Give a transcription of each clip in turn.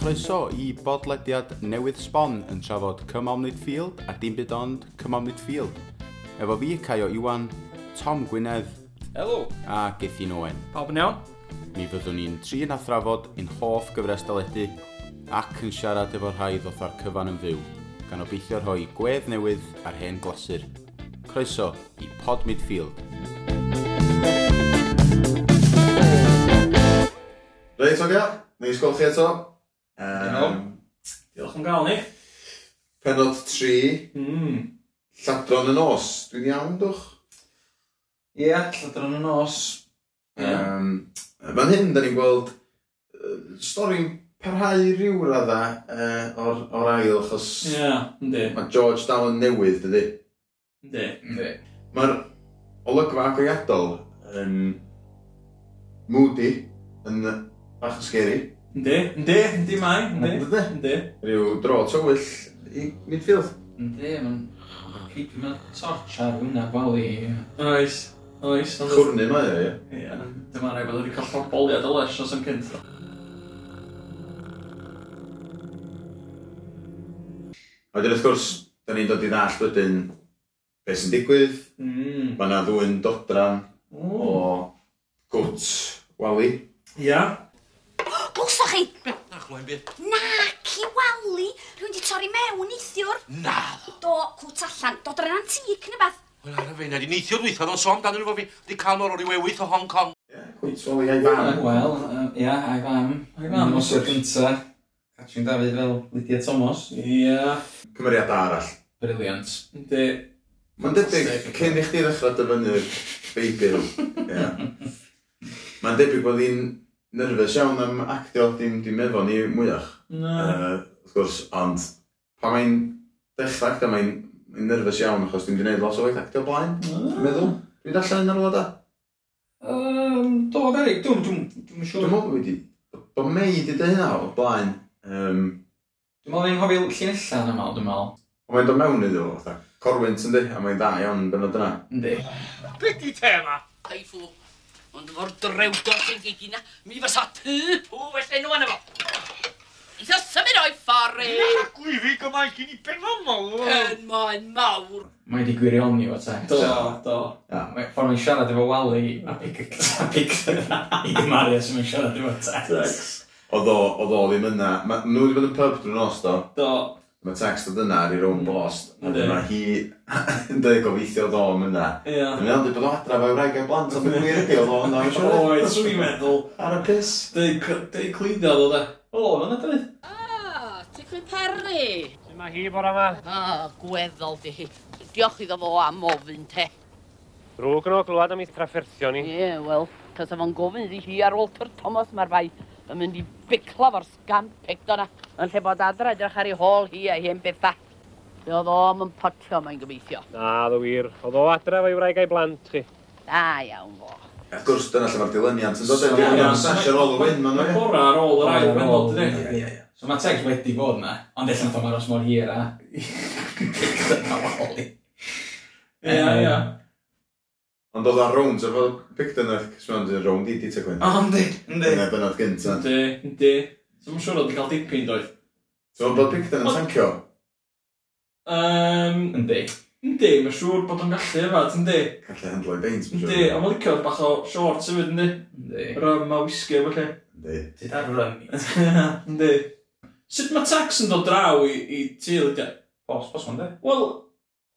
chroeso i bodlediad newydd sbon yn trafod Cymom Midfield a dim byd ond Cymom Midfield. Efo fi, Caio Iwan, Tom Gwynedd Helo! a Gethin Owen. Pawb yn iawn? Mi fyddwn ni'n trin a thrafod ein hoff gyfres deledu ac yn siarad efo rhai ddoth ar cyfan yn fyw, gan obeithio rhoi gwedd newydd ar hen glasur. Croeso i Pod Midfield. Reit, ogia, ni sgol chi eto. Iawn. Um, Diolch am gael ni. penod 3, Mm. Hmm. lladron y nos. Dwi'n iawn, dwch? Ie, lladron y nos. Ie. Um, fan hyn, da ni'n gweld uh, stori'n parhau rhyw radda uh, o'r, or ail, achos Ie, yndi, mae George dal yn newydd, dydy. yndi. Yndi. Mae'r olygfa agoriadol yn moody, yn bach yn scary. Yndi, yndi, yndi mai, yndi. Dydy? Yndi. Rhyw dro tywyll i midfield. Yndi, mae'n... Mae'n torch ar hwnna bal i. Oes, oes. ond- Chwrnu mae o, ie. Ie, dyma rai bod wedi cael poboliad o les os yn cynt. A wedyn, wrth gwrs, da ni'n dod i ddall wedyn beth sy'n digwydd. Mm. Mae yna ddwy'n dodran o O. gwt wali. Ia. Glwsoch chi! Na chlwy'n byd. Naci Wali! Rwy'n di torri mewn neithiwr! Na. Do, cwt allan, dod yr antig neu beth! Wel ar y fe, na di neithio'r weithio, o'n sôn dan nhw fo fi. Di cael o'r o'r wewyth o Hong Kong. Gwt wali a'i fan. Wel, yym, ie, a'i fam. A'i fam. Nos o'r cynta. Catrin Dafydd fel Lydia Thomas. Ia. Cymeriad arall. Briliant. Yndi. Mae'n debyg, cyn i chdi ddechrau dyfynu'r beibl. Ie. Mae'n debyg bod hi'n nerfus iawn am actio dim dim efo ni mwyach. Na. Uh, wrth gwrs, ond pan mae'n dechrau actio, mae'n mae'n nerfus iawn achos dwi'n gwneud lot o waith actio blaen. Dwi'n meddwl, dwi'n darllen yn arwad a. Um, do, Berig, dwi'n... Dwi'n dwi'n Dwi'n siŵr. Dwi'n meddwl bod wedi... Bod mei wedi dweud hynna o blaen. Um, meddwl ni'n hoffi llinellan yma, dwi'n meddwl. Ond mae'n dod mewn iddo fo, fatha. Corwynt yndi, a mae'n dda iawn yn benod yna. Yndi. Be di tema? Ai ffw, ond efo'r drewdos yn gig na, mi fysa ty pw well enw yna fo. Eitha symud o'i ffori, Gwyfi gymaint gyn i benfam mawr. yn moyn mawr. Mae di gwirioni o te. Do, do. Mae ffordd mae'n siarad efo Wally a pic a pic i gymaru as mae'n siarad efo Tex. Oedd o, oedd o ddim yna. Ma, nhw wedi bod yn pub drwy'n nos, do. Do. Mae text oedd yna ar ei rown bost. A Yndi. dyna hi yn dweud gobeithio oedd o am yna. Ia. Yn iawn, dwi'n bod o adra fe wraig a'i blant, ond dwi'n wir ydi oedd o yna. I'm sure. Oes, dwi'n meddwl. Ar y piss. Dwi'n clyddiad o da. O, fyna dweud. Ah, ti'n cwy perri. Dyma hi bora ma. Ah, gweddol di hi. Diolch iddo fo am ofyn te. Drwg yn o glwad am ei trafferthio ni. Ie, wel, cos efo'n gofyn iddi hi ar Walter Thomas mae'r fai yn mynd i biclaf o'r sgan pecto na, yn lle bod adra edrych ar ei hôl hi a hi yn betha. Be oedd o am yn potio mae'n gobeithio. Na, ddo wir. Oedd o adra fo'i wraig a'i blant chi. Da iawn fo. Wrth gwrs, dyna lle mae'r dilyniant yn dod. Ie, Dyna ie. lle Sasha Roll y Wyn, ma'n Mae'n nhw. ie? bora ar ôl yr ail bennod, dydy? Ie, ie, ie. So mae Tex wedi bod na, ond eithaf pan mae'r osmor hir a... Ia, ia. Ond oedd ar rownd, efo Picton eich smion dwi'n rownd i di te gwyn. Yndi, Dyna benod gynta. Yndi, yndi. So mae'n siŵr oedd wedi cael dipyn doedd. Ti'n meddwl bod Picton yn tancio? Um, Yndi. yndi, mae'n siŵr bod o'n gallu efad, yndi. Gallu handlo i beint, ma'n Yndi, a siŵr. mae'n licio bach o shorts hefyd, yndi. Yndi. Rum a whisky efo lle. Yndi. Dyd ar rynni. Yndi. Sut mae tax yn dod draw i, i teulu di? Bos, bos fan de. Wel,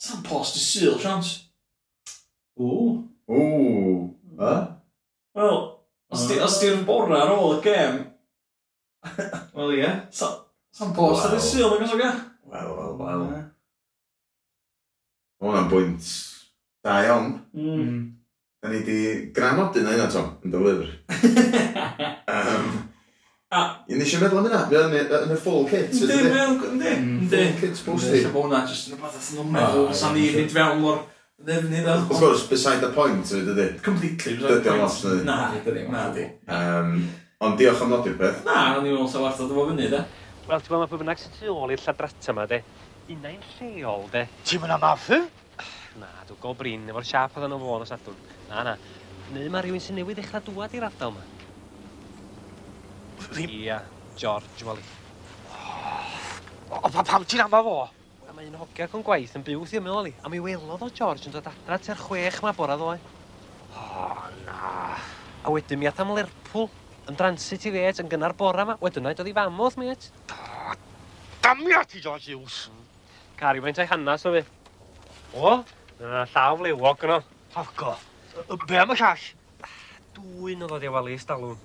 sa'n post i syl, sians? O. Ww. Ha? Wel, os di- os di'r bora ar ôl y gem, Wel ie. sa- sa'n post ar Wel. y syl, mae'n gosog e? Wel, wel, wel. Ma' hwnna'n bwynt da iawn. Mm. Da ni di granod yna yna, Tom, yn dy lyfr. um, A, I nes i feddwl am hynna, mae o'n y- yn y full kit. Yndi, yndi? mae o'n... Yndi, yndi. Full kit Yndi, posty. lle Wrth bod hwnna, jyst yn y bydd o'n meddwl, sa'n ni mynd fewn mor ddefnydd ar... gwrs, beside the point, ydy dydy. Completely, Dydi o'n lot, dydi. Na, Dydi o'n na, lot. di. Um, ond diolch am nodi'r peth. Na, o'n i'n meddwl sa warth o dyfo fyny, da. Wel, ti'n gweld mae pwy bynnag sy'n tu ôl i'r lladrata ma, de. Unau'n lleol, de. Ti'n mynd am affu? Na, dwi'n go brin efo'r siap oedd yn o fôn o sadwn. Na, na. Neu mae rhywun sy'n newydd ddechrau dŵad i'r ardal ma. Ddim. Ia, George, wali. O, pa- pam ti'n ama fo? A mae un hogia ac yn gwaith yn byw ddim yn ôl i. A mi welodd o George yn dod adra ter chwech ma bora ddoe. O, na. A wedyn mi ath am Lerpwl. Yn transit i fet yn gynnar bora ma. Wedyn oed oedd i famodd mi et. Damia ti, George Hughes. Cari mae'n tai hanas o fi. O, na llaw flewog yno. Hogo. Y be am y llall? Dwy'n oedd oedd i walu i stalwn.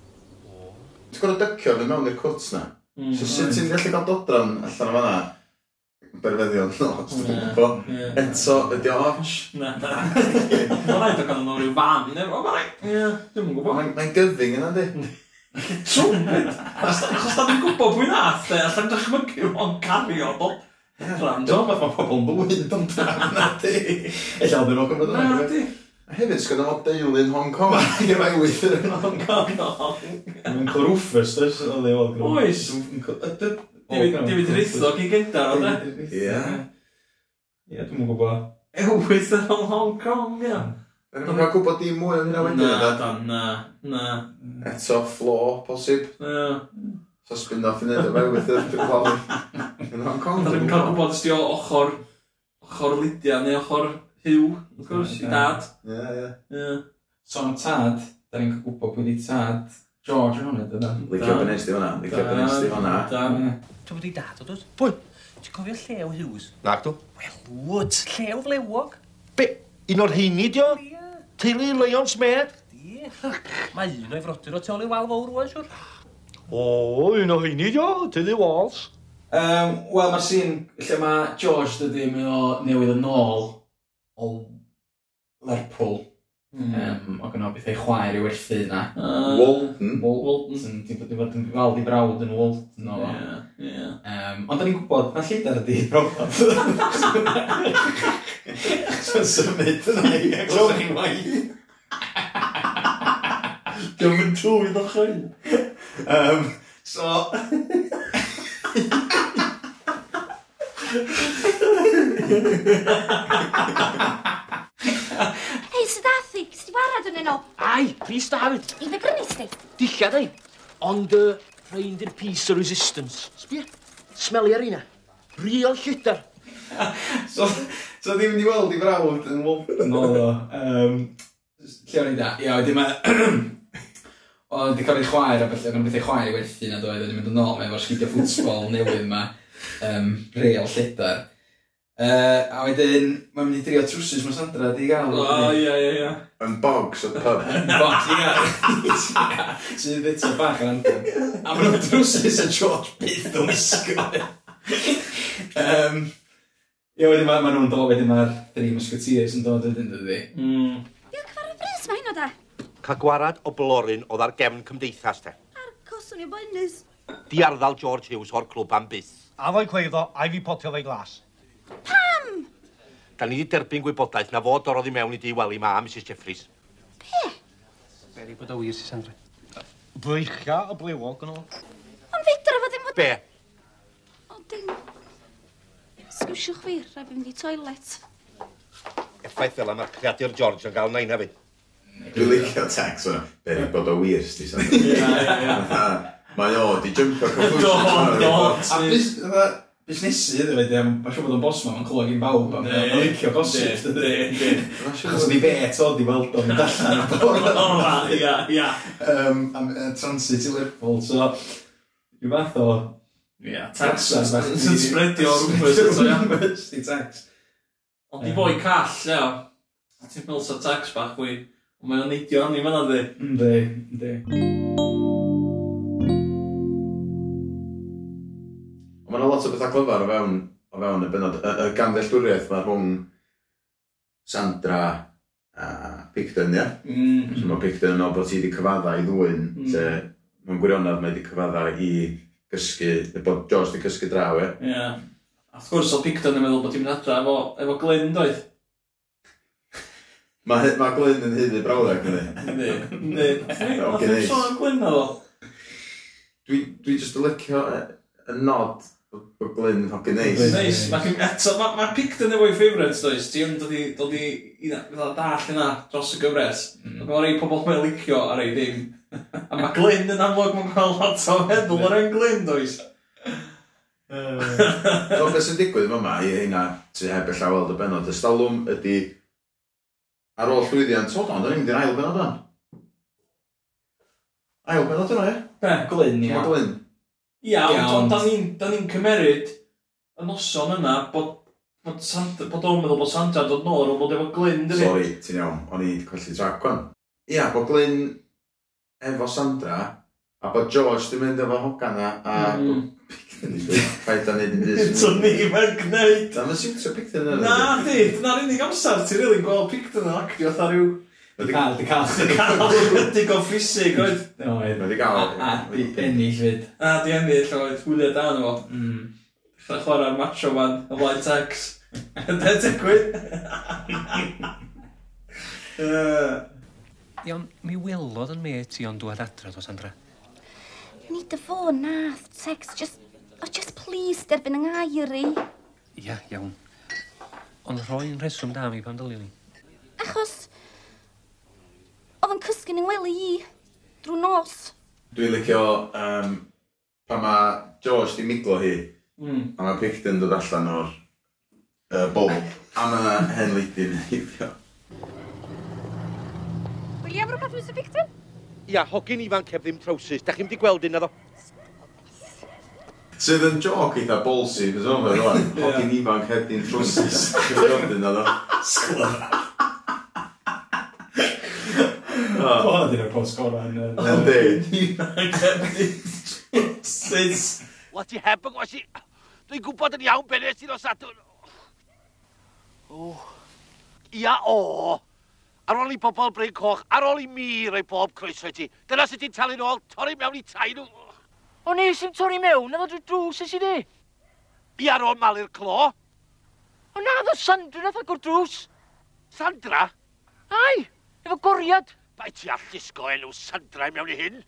Ti'n gwrdd dycio fi mewn i'r cwts na? Mm. Hmm. So sut ti'n gallu cael dodran allan o fanna? Berfeddion, no, os dwi'n gwybod. Eto, ydi o osh. Na, na. Mae'n rhaid o ganddyn nhw rhyw fan, neu fo, mae'n rhaid. Ie, dwi'n yn gwybod. Mae'n mae'n gyfing yna, di. Trwmped! Achos da ni'n gwybod pwy nath, e, allan dychmygu fo'n cario bob rhan. Dwi'n meddwl mae pobl yn bwyd am dan na di. Ella oedd yn o'r gwybod Na, yna. di. A Hefyd, sgan o deulu'n Hong Kong. Ie, mae'n wythyr yn Hong Kong, Hong. Mae'n corwffus, does? Oedd ei weld. Oes. David David Rithog i gyda, e? o da? Ie. Ie, dwi'n gwybod. Ewyth yn ôl Hong Kong, ia. Dwi'n meddwl gwybod dim mwy am hynna wedyn. e. Na, yndad? da, na, na. Eto, floor, posib. Ie. So spin off i neud o fewn wythyr. Dwi'n gwybod. Yn Hong Kong. Da ni'n cael gwybod ysdi o ochr, ochr Lydia, neu ochr Hugh, wrth gwrs, i dad. Ie, ie. Ie. So am tad, da ni'n cael gwybod pwy di tad George yn hwnna, dyna. Licio bynnes di hwnna. Licio bynnes di hwnna. Da, Ti'n bod i dad o dod? Pwy? Ti'n cofio llew Hughes? Nac dw? Wel, wyd. Llew flewog? Be? Un o'r heini di o? Teulu Lyons Med? Ie. Mae un o'i frodyr o tu ôl i wal fawr rwan, siwr. O, un o'r heini di o? Teulu Walls? Um, Wel, mae'r sîn lle mae George dydy mynd o newydd yn ôl o Lerpwl. Um, o gynnu beth ei chwaer i werthu yna. Walton. Walton, ti'n bod yn yn fawr di brawd yn Walton o. fo. Ie, ie. Um, ond da ni'n gwybod, na lleidar ydi brawd. Sy'n symud yna i Gwrs chi'n waith. Dwi'n mynd trwy yn ochr i. Um, so... Hei, sydd athu? Sdi warad yn yno? Ai, Rhys David, I fe brynis di? dillad ei. Ond y uh, rhaid i'r piece o resistance. Sbia, smeli ar una. Real llidar. So, so ddim wedi weld i frawd yn Walton. No, no. Um, lle o'n i da? Ia, wedi ma... Oedd wedi cael ei chwaer a felly, oedd yn beth ei chwaer i werthu na doedd, oedd wedi mynd yn ôl, mae efo'r sgidio ffwtsbol newydd ma, um, real lledar. Uh, a wedyn, mae'n mynd i drio trwsus mae Sandra di gael. O, ie, ie, ie. Yn bogs o pub. Box, i gael. Sydd bit o bach yn anthem. A mae'n nhw'n drwsus a George byth o'n ysgol. um, Ie, wedyn mae ma nhw'n dod, wedyn mae'r Three Musketeers yn dod wedyn, dydy. Mm. Yw'n cyfarwydd brynis mae hynny da? Ca gwarad o blorin oedd ar gefn cymdeithas te. Coswn i'r boenus. Di arddal George Hughes o'r clwb am byth. A fo'i cweiddo, a fi potio fe'i glas. Da ni wedi derbyn gwybodaeth na fod dorodd i mewn i di weli ma, Mrs Jeffries. Beri bod o wir, si Sandra. Breicha y blewog yn ôl. Ond fedra fo ddim fod... Be? O, dim. Sgwisiwch fi, rhaid fi mynd i toilet. Effaith fel mae'r creadur George yn gael nain a fi. Dwi'n licio tax yna. Be'n bod o wir, sti Sandra. Ie, ie, ie. Fatha, Mae o, di jump o confused. Do, do. A bus- fatha, busnesu ydw i, mae'n siŵr bod o'n bos ma, mae'n clywed gyn bawb, a mae'n Ne. mae'n licio gosip, Ne, dydy. Achos Achos ni bet oedd i weld o'n dallan y O, bwrdd. na, ia, ia. Um, am y transit i Lerpwl, so, rhyw fath o... Ia, Taxas, taxas. Yn spredio o'r rhywbeth, eto, ia. rhywbeth, di tax. Ond i boi call, ia. A ti'n meddwl sa tax bach, wy. Ond Mae o'n neidio arni fan'na, ddi. Ynddi, ynddi. Mae yna lot o bethau clyfar o fewn, o fewn y benod. Y, y gandelltwriaeth mae rhwng Sandra a Picton, ia? Mm. Mm-hmm. So mae Picton yn meddwl bod ti wedi cyfadda i ddwyn, Mm. te mae'n gwirionedd mae wedi cyfadda i gysgu, bod George wedi cysgu draw, e. Ia. A wrth gwrs, o Picton yn meddwl bod ti'n mynd adra efo, efo Glyn, doedd? Mae ma Glyn yn hyddi brawddeg, ynddi. Yndi. Yndi. O, Nath ni'n gneis. sôn am Glyn o. Dwi, dwi jyst yn licio y, y nod bod bod Glyn hogyn neis. Neis. Mae gen- eto, ma- ma Picton efo'i ffeifrets, does? Ti yn dod i, dod i, i na- fatha dall yna dros y gyfres. Ac mae rei pobl mae'n licio a rei ddim. A mae Glyn yn amlwg mae'n cael lot o feddwl ar ein Glyn, does? So beth sy'n digwydd fyma i hynna tu heb eich weld y benod y stalwm ydy ar ôl llwyddiant o dan, da ni'n mynd i'r ail benod dan. Ail benod yna, ie? Be? Glyn, Mae ia. Glyn. Ia, Ia, ond ond- da ni'n da ni'n cymeryd y noson yna bod bod, Sand- bod o'n meddwl bod Sandra dod nôl ar ôl bod efo glyn, dyn ni? Sorry, ti'n iawn, o'n i'n colli trac gwan. Ia, bod Glyn efo Sandra, a bod George di mynd efo hogan na, a... Mm. Ffaith da'n neud yn Eto dys. ni, mae'n gwneud! Na, mae'n siwtio picture yna. Na, di, na'r unig amser ti'n rili gweld picton yn actio fatha rhyw Wedi Cael, di cael. canol ydig o ffrisig, oedd? Oedd. Wedi A, gael. a, di ennill fyd. A di ennill, oedd, hwyliau dan o. Mm. Chna chwarae'r macho fan, y blaen tex. Yna digwydd. Yy, Iawn, mi welodd yn met i ond dwad adra, dos Andra. You need the phone na, text, just... Oh, just please, derbyn yng ngair i. Ia, iawn. Ond rhoi'n rheswm da mi pan dylio ni. Achos... Oedd yn cysgu yng ngwely i. Drw nos. Dwi'n licio um, pan mae George di miglo hi, Mm. a mae Picton dod allan o'r uh, bol. A mae hen leidyn yn heibio. William, rhywbeth Mr Picton? Ia, hogyn ifanc heb ddim trowsus. Da chi'n di gweld un addo? Sydd yn joc eitha bolsi, cos o'n fawr rwan. Hogyn ifanc hedyn trwsus. Cyfrifiadyn oedd o. O, dyn nhw'n post gorau yn... yy, Yn deud. Sut? Wel, ti heb yn gwasi. Dwi'n gwybod yn iawn be nes i nos adwn. O. Ia, o. Ar ôl i bobl Bryn Coch, ar ôl i mi roi bob croeso i ti. Dyna sydd ti'n talu'n ôl, torri mewn i tai nhw. O nes i'n torri mewn, oedd o drwy drws ys i di. Ia ar ôl malu'r clo. O na, oedd o Sandra nath agor drws. Sandra, Ai, efo goriad. bai ti all lusgo enw Sandra i mewn i hyn?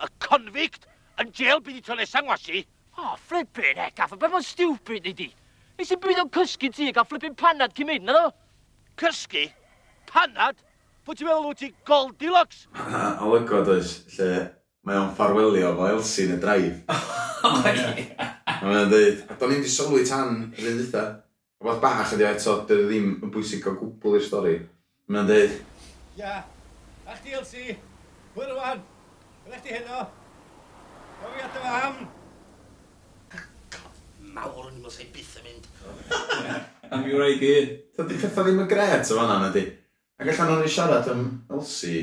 Y convict yn jail byd i to nesaf ngwasi? O, flippin' heck, aff, beth mae'n stupid i di. Nes i byd o'n cysgu ti a gael flippin' panad cyn mynd, oedd o? Cysgu? Panad? Pwy ti'n meddwl wyt ti Goldilocks? A a lygod oes, lle mae o'n ffarwelio fo Elsie yn y draif. A mae'n deud, a do'n i'n di sylwi tan yr un dda. Rwy'n bach ydi o eto, dyn ddim yn bwysig o gwbl i'r stori. Mae'n deud, Ia. A chdi, Elsie? Hwyr rwan. Yn eich di heno? Gofiad yma am. Mawr o'n i'n meddwl sef byth yn mynd. Am i wraig i un. Dydy pethau ddim yn gret o fanna, nadi. Ac allan o'n i siarad am Elsie,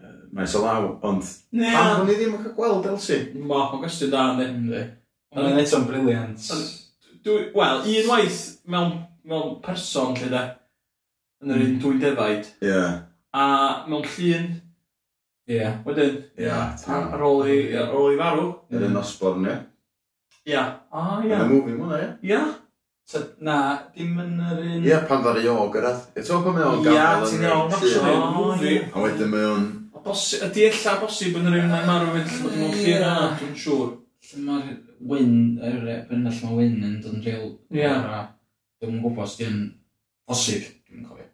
yy, mae sy'n law, ond... Ne. Pam bod ni ddim yn cael gweld Elsie? Ma, o gwestiwn da, ne? Yndi. Ond mae'n eto'n briliant. Dwi- Wel, unwaith mewn, mewn person, lle da. Yn yr un Mm. dwy defaid. Ie. A mewn llun, Ie. wedyn, Ie. ar ar ôl i, ar ôl i farw. Yr un osborn, ie. Ia. A, Yn ia. y movie mwna, ie. Ia. So, na, dim yn yr un... Ie, pan ddari o gyrraedd. Ie, ti'n gwbod pan mae o'n Ia, gafael Mm. ti'n yn y iawn, llun, actually, ie? movie. A wedyn mae o'n... O bosib, ydi ella bosib yn yr un mae'n marw fynd bod mewn llun yna, dwi'n siŵr. Lle mae'r wyn, yr wyn, lle mae wyn yn dod yn ril. Ie. Dwi'n gwybod os di'n posib, dwi'n cofio.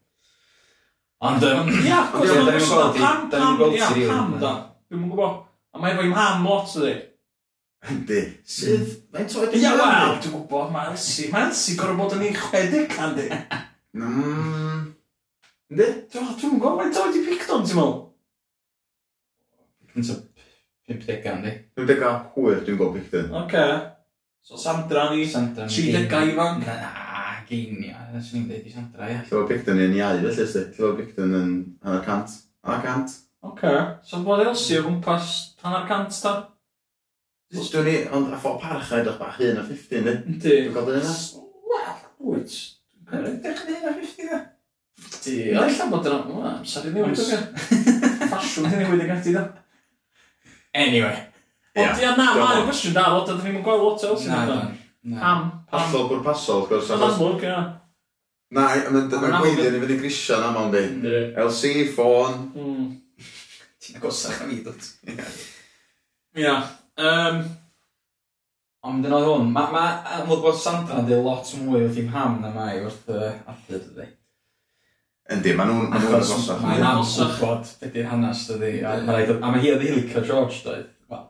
Ond, yym, Ia, Ond cos ie, o'n da ni'n gwybod, gweld hi- pam, da ni'n pam, gweld ia, hi rili, pam ynde? da. Dwi'n gwybod. A mae efo'i mam lot ydi. Di. Sydd? Mae'n toed Ia, wel, dwi'n gwybod, mae Elsie, mae Elsie gorau bod yn ei 60 can di. Mm. Ynddi? Dwi'n dwi'n gwybod, mae'n dod i picton, ti'n meddwl? yn so, 50 gan, di. Dwi'n deg a hwyr, dwi'n gwybod pictyn. Oce. So Sandra ni, Sandra... 30 ifanc. Na, geinia. Swn i'n dweud i Sandra, ia. Lle mae pictyn yn iau, felly ysdi. Lle mae pictyn yn hanner cant. Hanner cant. Oce. So bod Elsie o gwmpas hanner cant da? Os Dwi'n ni, ond a ffordd parch a edrych bach hyn a 50, ynddi? Yndi. Dwi'n gweld hynna? Wel, wyt. Dwi'n dechrau hynna 50 da. Di, a illa bod yna, wel, amser i newid o gael. Ffasiwn i newid o gael ti da. Anyway. Ond ia, na, mae'n Dwi'n gweld. gwestiwn da, lot ydyn ni'n gweld lot o Elsie. Na, da. na. Pam, pam, Hollol bwrpasol, wrth gwrs. pam, achos- amlwg, ia. Na, mae'n Ma'n amlwg- gweithio ni fynd i grisio yn aml, ynddi? Yndi. LC, ffôn, Mm. Ti'n agosach am i, dod. Ia. Yym, Ond yn oedd hwn, mae ma, amlwg bod Sandra'n dweud lot mwy wrth i'm ham na mai wrth uh, Arthur, dydi. Yndi, maen nhw'n maen nhw'n Achos agosach. mae'n Ie. am gwybod beth ydy'r hanes, dydi. A ma' raid- a mae hi oedd i licio George, doedd. Wel,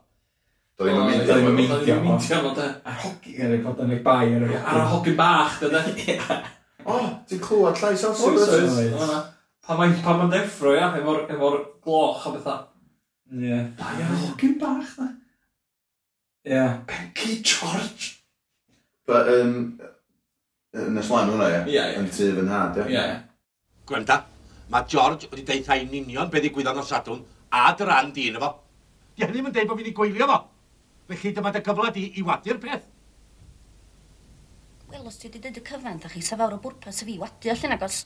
Doedd ddim yn mynd Doedd am ddim yn o. mynd. Dwi'n mintio fo, de. A'r hogi yn y bod yn y bai yn y Ar y hogyn bach, de, de. O, ti'n clywed llais Elsa Brothers? Pan mae'n pan mae'n deffro, ia, efo'r efo gloch a bethau. Ie. Da, ia, hogyn bach, de. Ie. Becky George. But, um, yn ysmlaen hwnna, ie? Ie, ie. Yn tu fy nhad, ie? Ie, ie. Gwranda, mae George wedi deitha i'n union be ddigwyddodd o sadwn a dy ran di yna fo. Di hynny yn deud bod fi'n ei gweilio fo. Felly dyma dy gyfle di i wadu'r peth. Wel, os ti wedi dweud y cyfan, da chi safawr o bwrpas y fi wadu allan agos.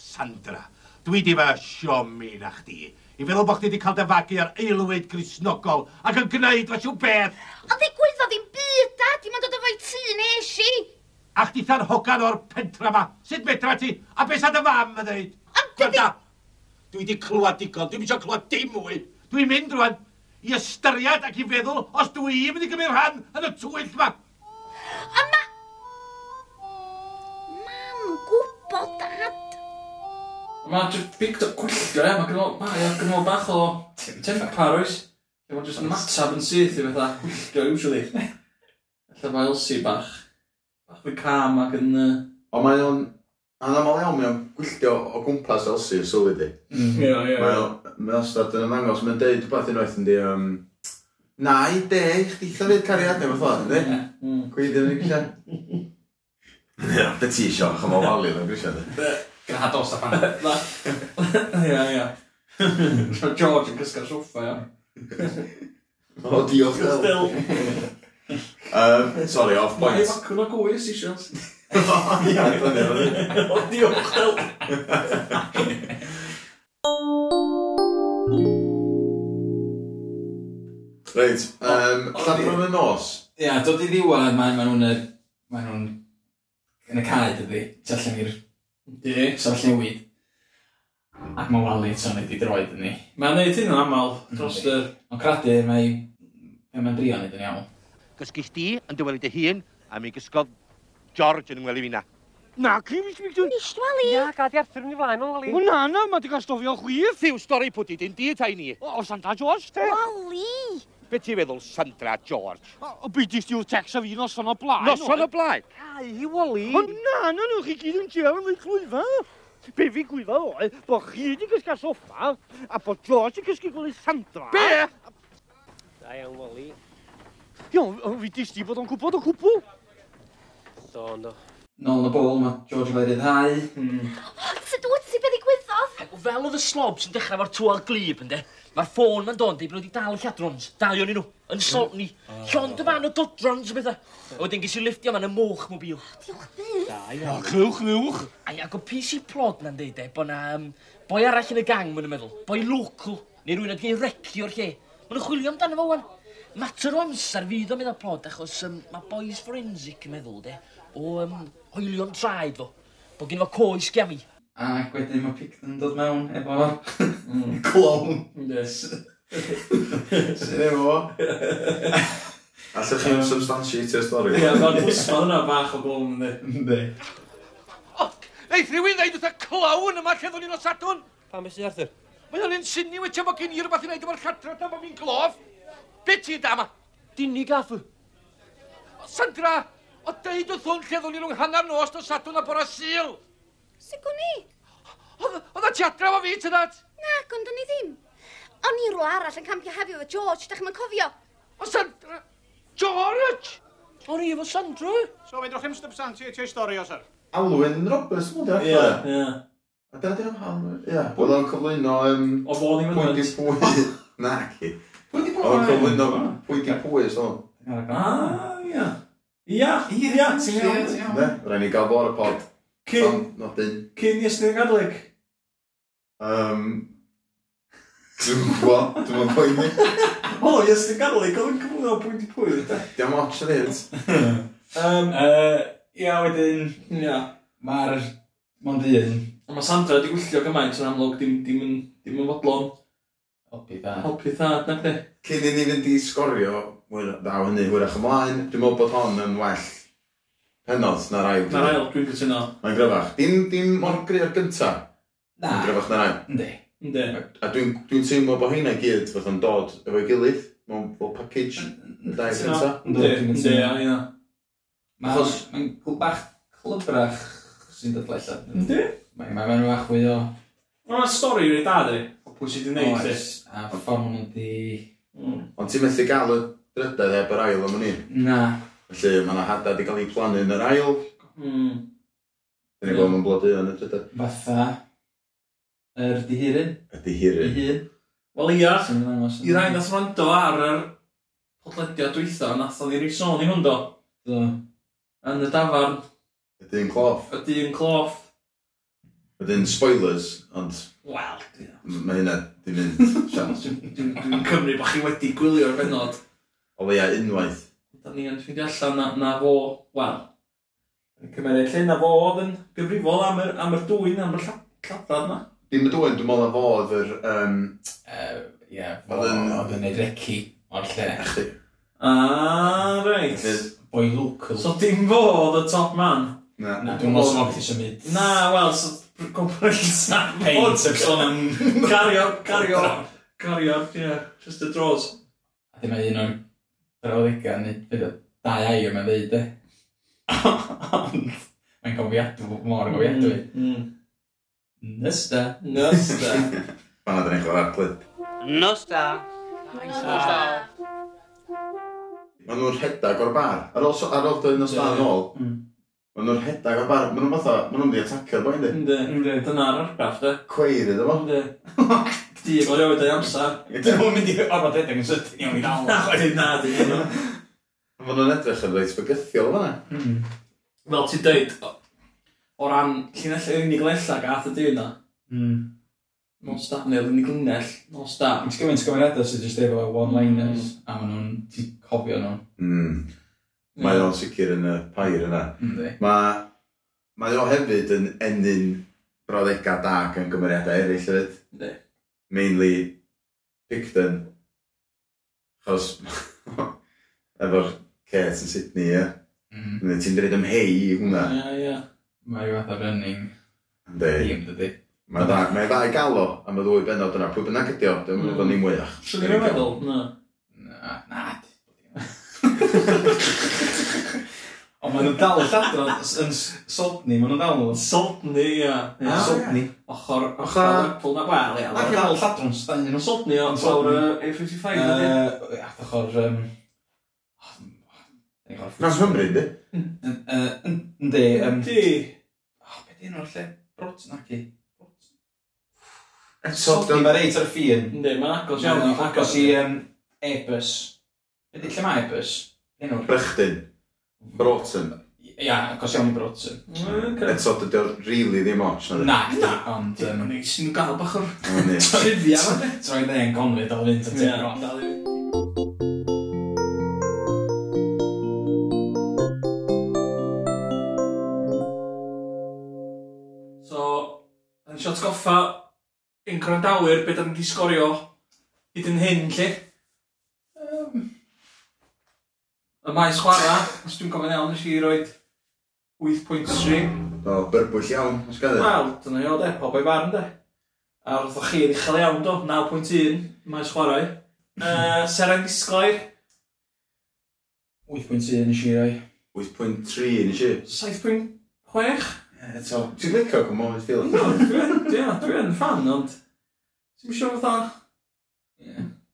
Sandra, dwi di fe siomi na chdi. I feddwl bod chdi wedi cael dy fagu ar eilwyd grisnogol ac yn gwneud fe siw beth. O ddigwyddo ddim byd, da, dim ond dod o fo'i tŷ nes i. A chdi tha'n hogan o'r pentra ma. Sut medra ti? A beth sa'n dy fam yn ddeud? Ond dydi- Gwranda, dwi wedi clywed digon. Dwi'n eisiau clywed dim mwy. Dwi'n mynd rwan i ystyried ac i feddwl os dwi yn mynd i gymryd rhan yn y twyll ma. Ond ma... Mam, gwybod, dad. Mae'n just big up gwylltio, ia. Mae'n gynnu- Mae'n gynnu bach o temper, oes. Mae'n just matab yn syth i bethau. Gwylltio, usually. Alla mae Elsie bach. Bach fwy calm ac yn... yy, Ond mae o'n anamal iawn, mae o'n gwylltio o gwmpas Elsie, sylwi di. Mm. Ie, ie. Mae o- mae o'n stad yn ymangos, mae'n deud rhywbeth unwaith yn di, um, na i de, chdi eitha fyd cariad neu fatha, ynddi? Mm. Gwydi yn y grisiau. Ie, beth ti isio, chymo wali yn y grisiau, di. Gyda dos a pan. Na. Ie, ie. Mae George yn cysga'r soffa, ia. O, diolch Del. Um, sorry, off Mae point. ei bacwn o gwy y seashells. Ia, dyna ni. O, diolch, Del. Reit, um, Lladron y nos. Ia, dod i ddiwedd, mae ma nhw'n... yr- Mae nhw'n... Yn y cae, dydy. Tu allan i'r Ie. sarllewid. Ac mae Wally eto yn ei droed yn ni. Mae'n neud hyn yn aml dros y... Ond credu, mae... Mae mae'n brio nid yn iawn. Gysgis di yn dywelu dy hun, a mi gysgodd George yn ymweli fi na. Na, cyn fi sbig dwi'n... Nis, Wally. Ia, gad i Arthur yn ei flaen o'n lali. na, na, mae di gael stofio chwir. Thiw stori pwdi di'n di tai ni. O, Santa George, te. Wally. Be ti'n feddwl Sandra George? O, bydys di'w tex a fi noson o blaen. Noson o blaen. Ai, hi woli. O na, na, nhw chi gyd yn trio yn ddweud clwyfa. Be fi gwyddo oedd bod chi wedi cysgu soffa a bod George yn cysgu gwylio Sandra. Be? Da iawn woli. Io, fi dis di bod o'n gwybod o cwbl. Do, do. Nôl yn y bol, mae George yn cael ei ryddhau. Sut wyt ti beth i gwyddodd? Fel oedd y slobs yn dechrau fo'r twal glib, ynddo? Mae'r ffôn ma'n do'n deud bod nhw wedi dal y lladrons, dau o'n nhw, yn salt ni, Mm. llond y fan o dodrons a bethau. A wedyn ges i liftio ma'n y moch mobil. Diolch byth. Da iawn. Clywch, clywch. Ai, ac o PC Prod na'n deud e, bo na um, boi arall yn y gang, ma'n meddwl. Boi local, neu rwy'n adgen reci o'r lle. Ma'n nhw'n chwilio amdano fo wan. Mater o amser fydd o meddwl Prod, achos um, mae boys forensic yn meddwl, de, o um, oelion traed fo. Bo gen fo coes gami. Ac wedyn mae Picton yn dod mewn efo... Clown. Yes. Sy'n efo fo. Allech chi'n substantiatio'r stori? Ie, mae'n bwysman yna bach o glwm, ynddi. Ynddi. Neith rhywun ddeud wrth y clawn yma lle ddwn i'n osadwn? Pam beth sy'n Arthur? Mae o'n insinio eto bod gen i rhywbeth i wneud efo'r lladrod na bod fi'n glof. Be ti'n dama? Dini gaffw. Sandra, o deud wrth hwn lle ddwn i'n nghannar nos o sadwn a bora syl. Sut gwn i? Oedd oedd y tiadra fo fi, tydad? Na, gwnd o'n i ddim. O'n i rwy'n arall yn campio hefyd efo George, da chi'n mynd cofio. O Sandra, George! O'n i efo Sandra? So, fedrwch chi'n substantiate ei stori o, sir? Alwyn Roberts, mwyn Ie, di allan. ie. A dyna di'r amham. Ie, bod o'n cyflwyno... Um, O bod ni'n pwy mynd. di pwy... Na, ci. Pwydi bod Oedd o'n cyflwyno pwy di pwy, so. Ah, ia. Ia, ia, ti'n iawn. Ne? Rhaid ni gael fo ar y pod. Cyn, Nodyn. cyn i ysdyn gadlig. Um, Dwi'n gwybod, dwi'n mwyn poeni. O, i ysdyn gadlig, oedd yn cyflwyno pwy di pwy, ynddi. Diolch much yn hyn. Um, Ia, wedyn... ia. Mae'r... Mae'n ddyn. A mae Sandra wedi gwylltio gymaint yn amlwg, dim, dim, yn, dim yn fodlon. Obi dda. Helpu thad, nac di. Cyn i ni fynd i sgorio, wy- ddaw hynny hwyrach ymlaen, dwi'n meddwl bod hon yn well penod na'r ail. Na'r ail, dwi'n cytuno. Mae'n gryfach. Dim, dim mor gryf gynta. Na. Mae'n gryfach na'r ail. Ynddi. Ynddi. A dwi'n dwi teimlo bod heina i gyd fath yn dod efo'i gilydd. mewn fel package y dau Cytuno. cynta. Yndi, yndi, ia, ia. Mae'n Achos- mae'n gw- bach clybrach sy'n dod allan. Yndi. Mae'n ma, ma bach fwy o... Mae'n stori rei da, di. O pwy sydd wedi gwneud, di. oes, A ffordd nhw di... Ond ti'n methu gael y drydedd heb yr ail am hynny. Na. Felly mae yna hadad wedi cael ei plannu yn yr ail. Mm. Dyna gweld mae'n blodu yn y drydedd. Fatha... Yr dihirin. Ydy hirin. Dihirin. Wel, ia, Sy'n mynd ymwneud. i rai nath rando ar yr podlediad dwytho, nath oedd i rei sôn i hwn do. Do. Yn y dafarn, Ydy'n cloff. y dyn cloff. Ydy'n spoilers, ond Wel, ia. m- mae hynna di mynd sians. Dwi'n dwi'n- dwi'n cymryd bod chi wedi gwylio'r benod. O leia unwaith. Da ni yn ffeindio allan na, na fo, wel, yn cymeriad lle na fo oedd yn gyfrifol am yr, am yr dwy'n, am y lla- lladrad na. Dim y dwy'n, dwi'n meddwl na fo oedd yr... Um, Ie, Oedd yn- oedd yn neud recu o'r lle. chdi. A, reit. Boi local. So dim fo oedd y top man. Na. Na, dwi'n meddwl sy'n mwyn symud. Na, wel, so comparables na. Paint yn sôn am... Cario, cario, cario, ie, just the draws. A dyma un o'n brawddegau, neu bydd o dau ai yma'n ddeud, e. Ond, mae'n gofiadw, mor gofiadwy. Mm. Nysta. Nys, da. Fanna dyn ni'n chwarae'r clip. Nosta. Maen nhw'n rhedag o'r bar. Ar ôl, so- ar ôl dyn nhw'n stad ôl, maen nhw'n rhedag o'r bar. Maen nhw'n fatha, maen nhw'n mynd i atacio'r boi'n di. Ynddi, dyna'r argraff, da. Cweir iddo fo. Ynddi. Di, mae'n rhywbeth ei amser. Maen Dwi'n mynd i orfod edrych yn sydyn iawn i ddal. Na, chwaith na, di. nhw'n edrych yn reit bygythiol fanna. Fel ti'n dweud, o ran llinell yr unig lella gath y dyn na, nos da, neu'r unig linell, nos da. Mae'n gymaint gymeriadau sydd jyst efo one-liners, a maen nhw'n, ti'n cofio nhw. Mm. Mae o'n sicr yn y pair yna. Ynddi. Mae, mae o hefyd yn enyn brawddegau da gan gymeriadau eraill hefyd. Yndi. Mainly Picton. Chos efo'r Kate yn Sydney, ie. Mm. Neu ti'n dweud ymhei i hwnna. Ia, ia. Mae rhyw fath o running Ynddi. theme, dydi. Mae dda, mae dda i gael o am y ddwy benod yna. Pwy bynnag ydi o, dwi'n mynd o'n i'n mwyach. Mm. Swn i'n meddwl, na. Na, na. Ond maen nhw'n dal y lladron. Yn sodni, maen nhw'n dal nhw. Sodni, ia. Ia, Sodni. Ochr, ochr Apple na, wel, ia. Ac yn dal lladron stan nhw. Sodni o'n fawr y A55, ydy. Yy, Ath ochr... yym, o, dim- o, dim ochr Nas Hymru, di? Yn- yy, yn- Yndi, yym... Di. O, Be di enw'r lle? Brot, naci. Sodni, Sodom. mae reit ar y ffin. Ynddi, mae'n agos iawn. Iawn, agos i um, Airbus. Be di, lle mae Airbus? Enw'r... Brechtin. Broughton. Ia, agos iawn i Broughton. Oce. Eto, dydy o rili ddim ots. Na, na, ond... yym, Ni sy'n gael bach o'r Na. trivia. ma. Troi dde'n gonfyd o fynd at Ie, Airbus. dal i- So, yn shot goffa, un gwrandawyr, be da ni wedi sgorio hyd yn hyn, lle? Y maes chwara, os dwi'n gofyn iawn, nes i roed 8.3. O, byrbwyll iawn. Os gael Wel, dyna i o de, pob o'i farn de. A roedd chi yn uchel iawn do, 9.1, maes chwarae. Uh, Seren disglair, 8.1 nes i roi. 8.3 nes i. 7.6. Eto. Ti'n licio gwmwyd ffilm? Dwi'n dwi yn fan, ond... Ti'n siŵr fatha...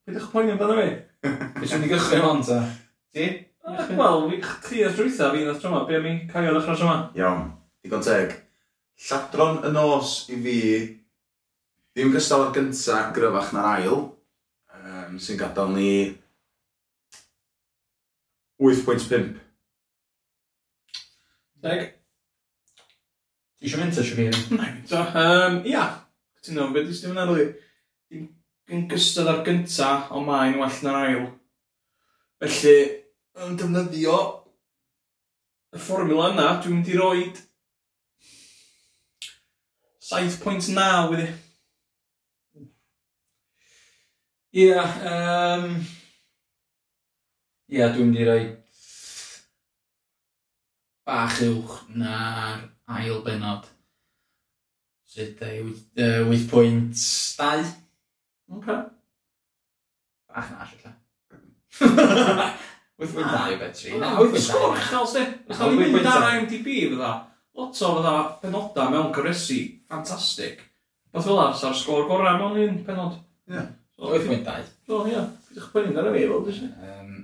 Pwy ddech poeni amdano fi? Beth sy'n ni gychwyn hon ta? Ti? Ah, Wel, fi- chdi ar drwytha fi nath tryma, be am i cael ar ddechrau tryma? Iawn. Digon teg. Lladron y nos i fi, ddim gystal â'r gynta gryfach na'r ail, um, sy'n gadael ni 8.5. Deg. Ti eisiau mynd ta Siobhan? So, um, ia. Ti'n nofn, beth ysdyn yn arwy? Yn gystod ar gynta, ond mae'n well na'r ail. Felly, yn defnyddio y fformula yna, dwi'n mynd i roed 7.9 wedi. Ia, yym... Ia, dwi'n mynd i roi... Bach uwch na'r ail benod. Sydd ei 8.2. Okay. Bach na, allan. Wyth wy'n dau o betri. Na, wyth Ah, Wyth wy'n sgwr dau. uchel, sdi? Nath Wyth e, o'n wy'n mynd ar dau. IMDb, fydda. Lot o fydda penodau mewn gyrresu. Fantastic. Beth fel ar, sa'r sgwr gorau mewn un penod. Ie. Wyth wy'n dau. O, ie. Pidwch pwynt ar y fi, fel dwi'n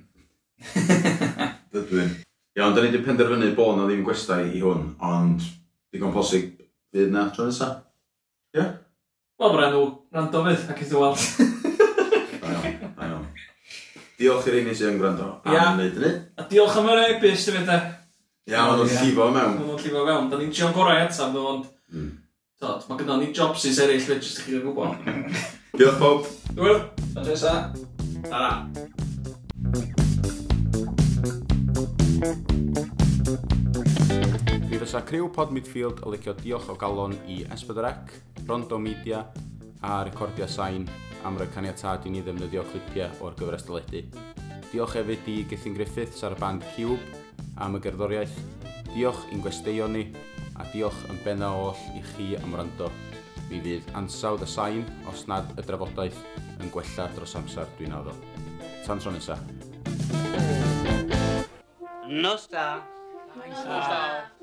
Dydwyn. Iawn, da ni wedi penderfynu bod na ddim gwestai i hwn, ond digon posib fydd na tro nesa. Wel, bren nhw, rando fydd, ac iddo weld. Da iawn, da iawn. Diolch i'r un i sy'n gwrando am Ia. wneud hynny. A diolch am yr e-bus, dwi'n fydda. Iawn, oedd llifo mewn. Mae'n llifo fewn. Da ni'n trio'n gorau eto, nhw, ond... Tod, mae gyda ni jobsys eraill, fe jyst i chi ddim yn gwybod. Diolch bob. Dwi'n fydda. Tara. Mi fysa criw pod midfield o licio diolch o galon i S4C, Rondo E Media a Recordia Sain am roi caniatad i ni ddefnyddio clipiau o'r gyfres dyledu. Diolch hefyd i Gethin Griffiths ar y band Cube am y gerddoriaeth. Diolch i'n gwesteion ni a diolch yn benna oll i chi am rando. Mi fydd ansawdd y sain os nad y drafodaeth yn gwella dros amser dwi'n addo. Tan tro nesaf. No star. No star.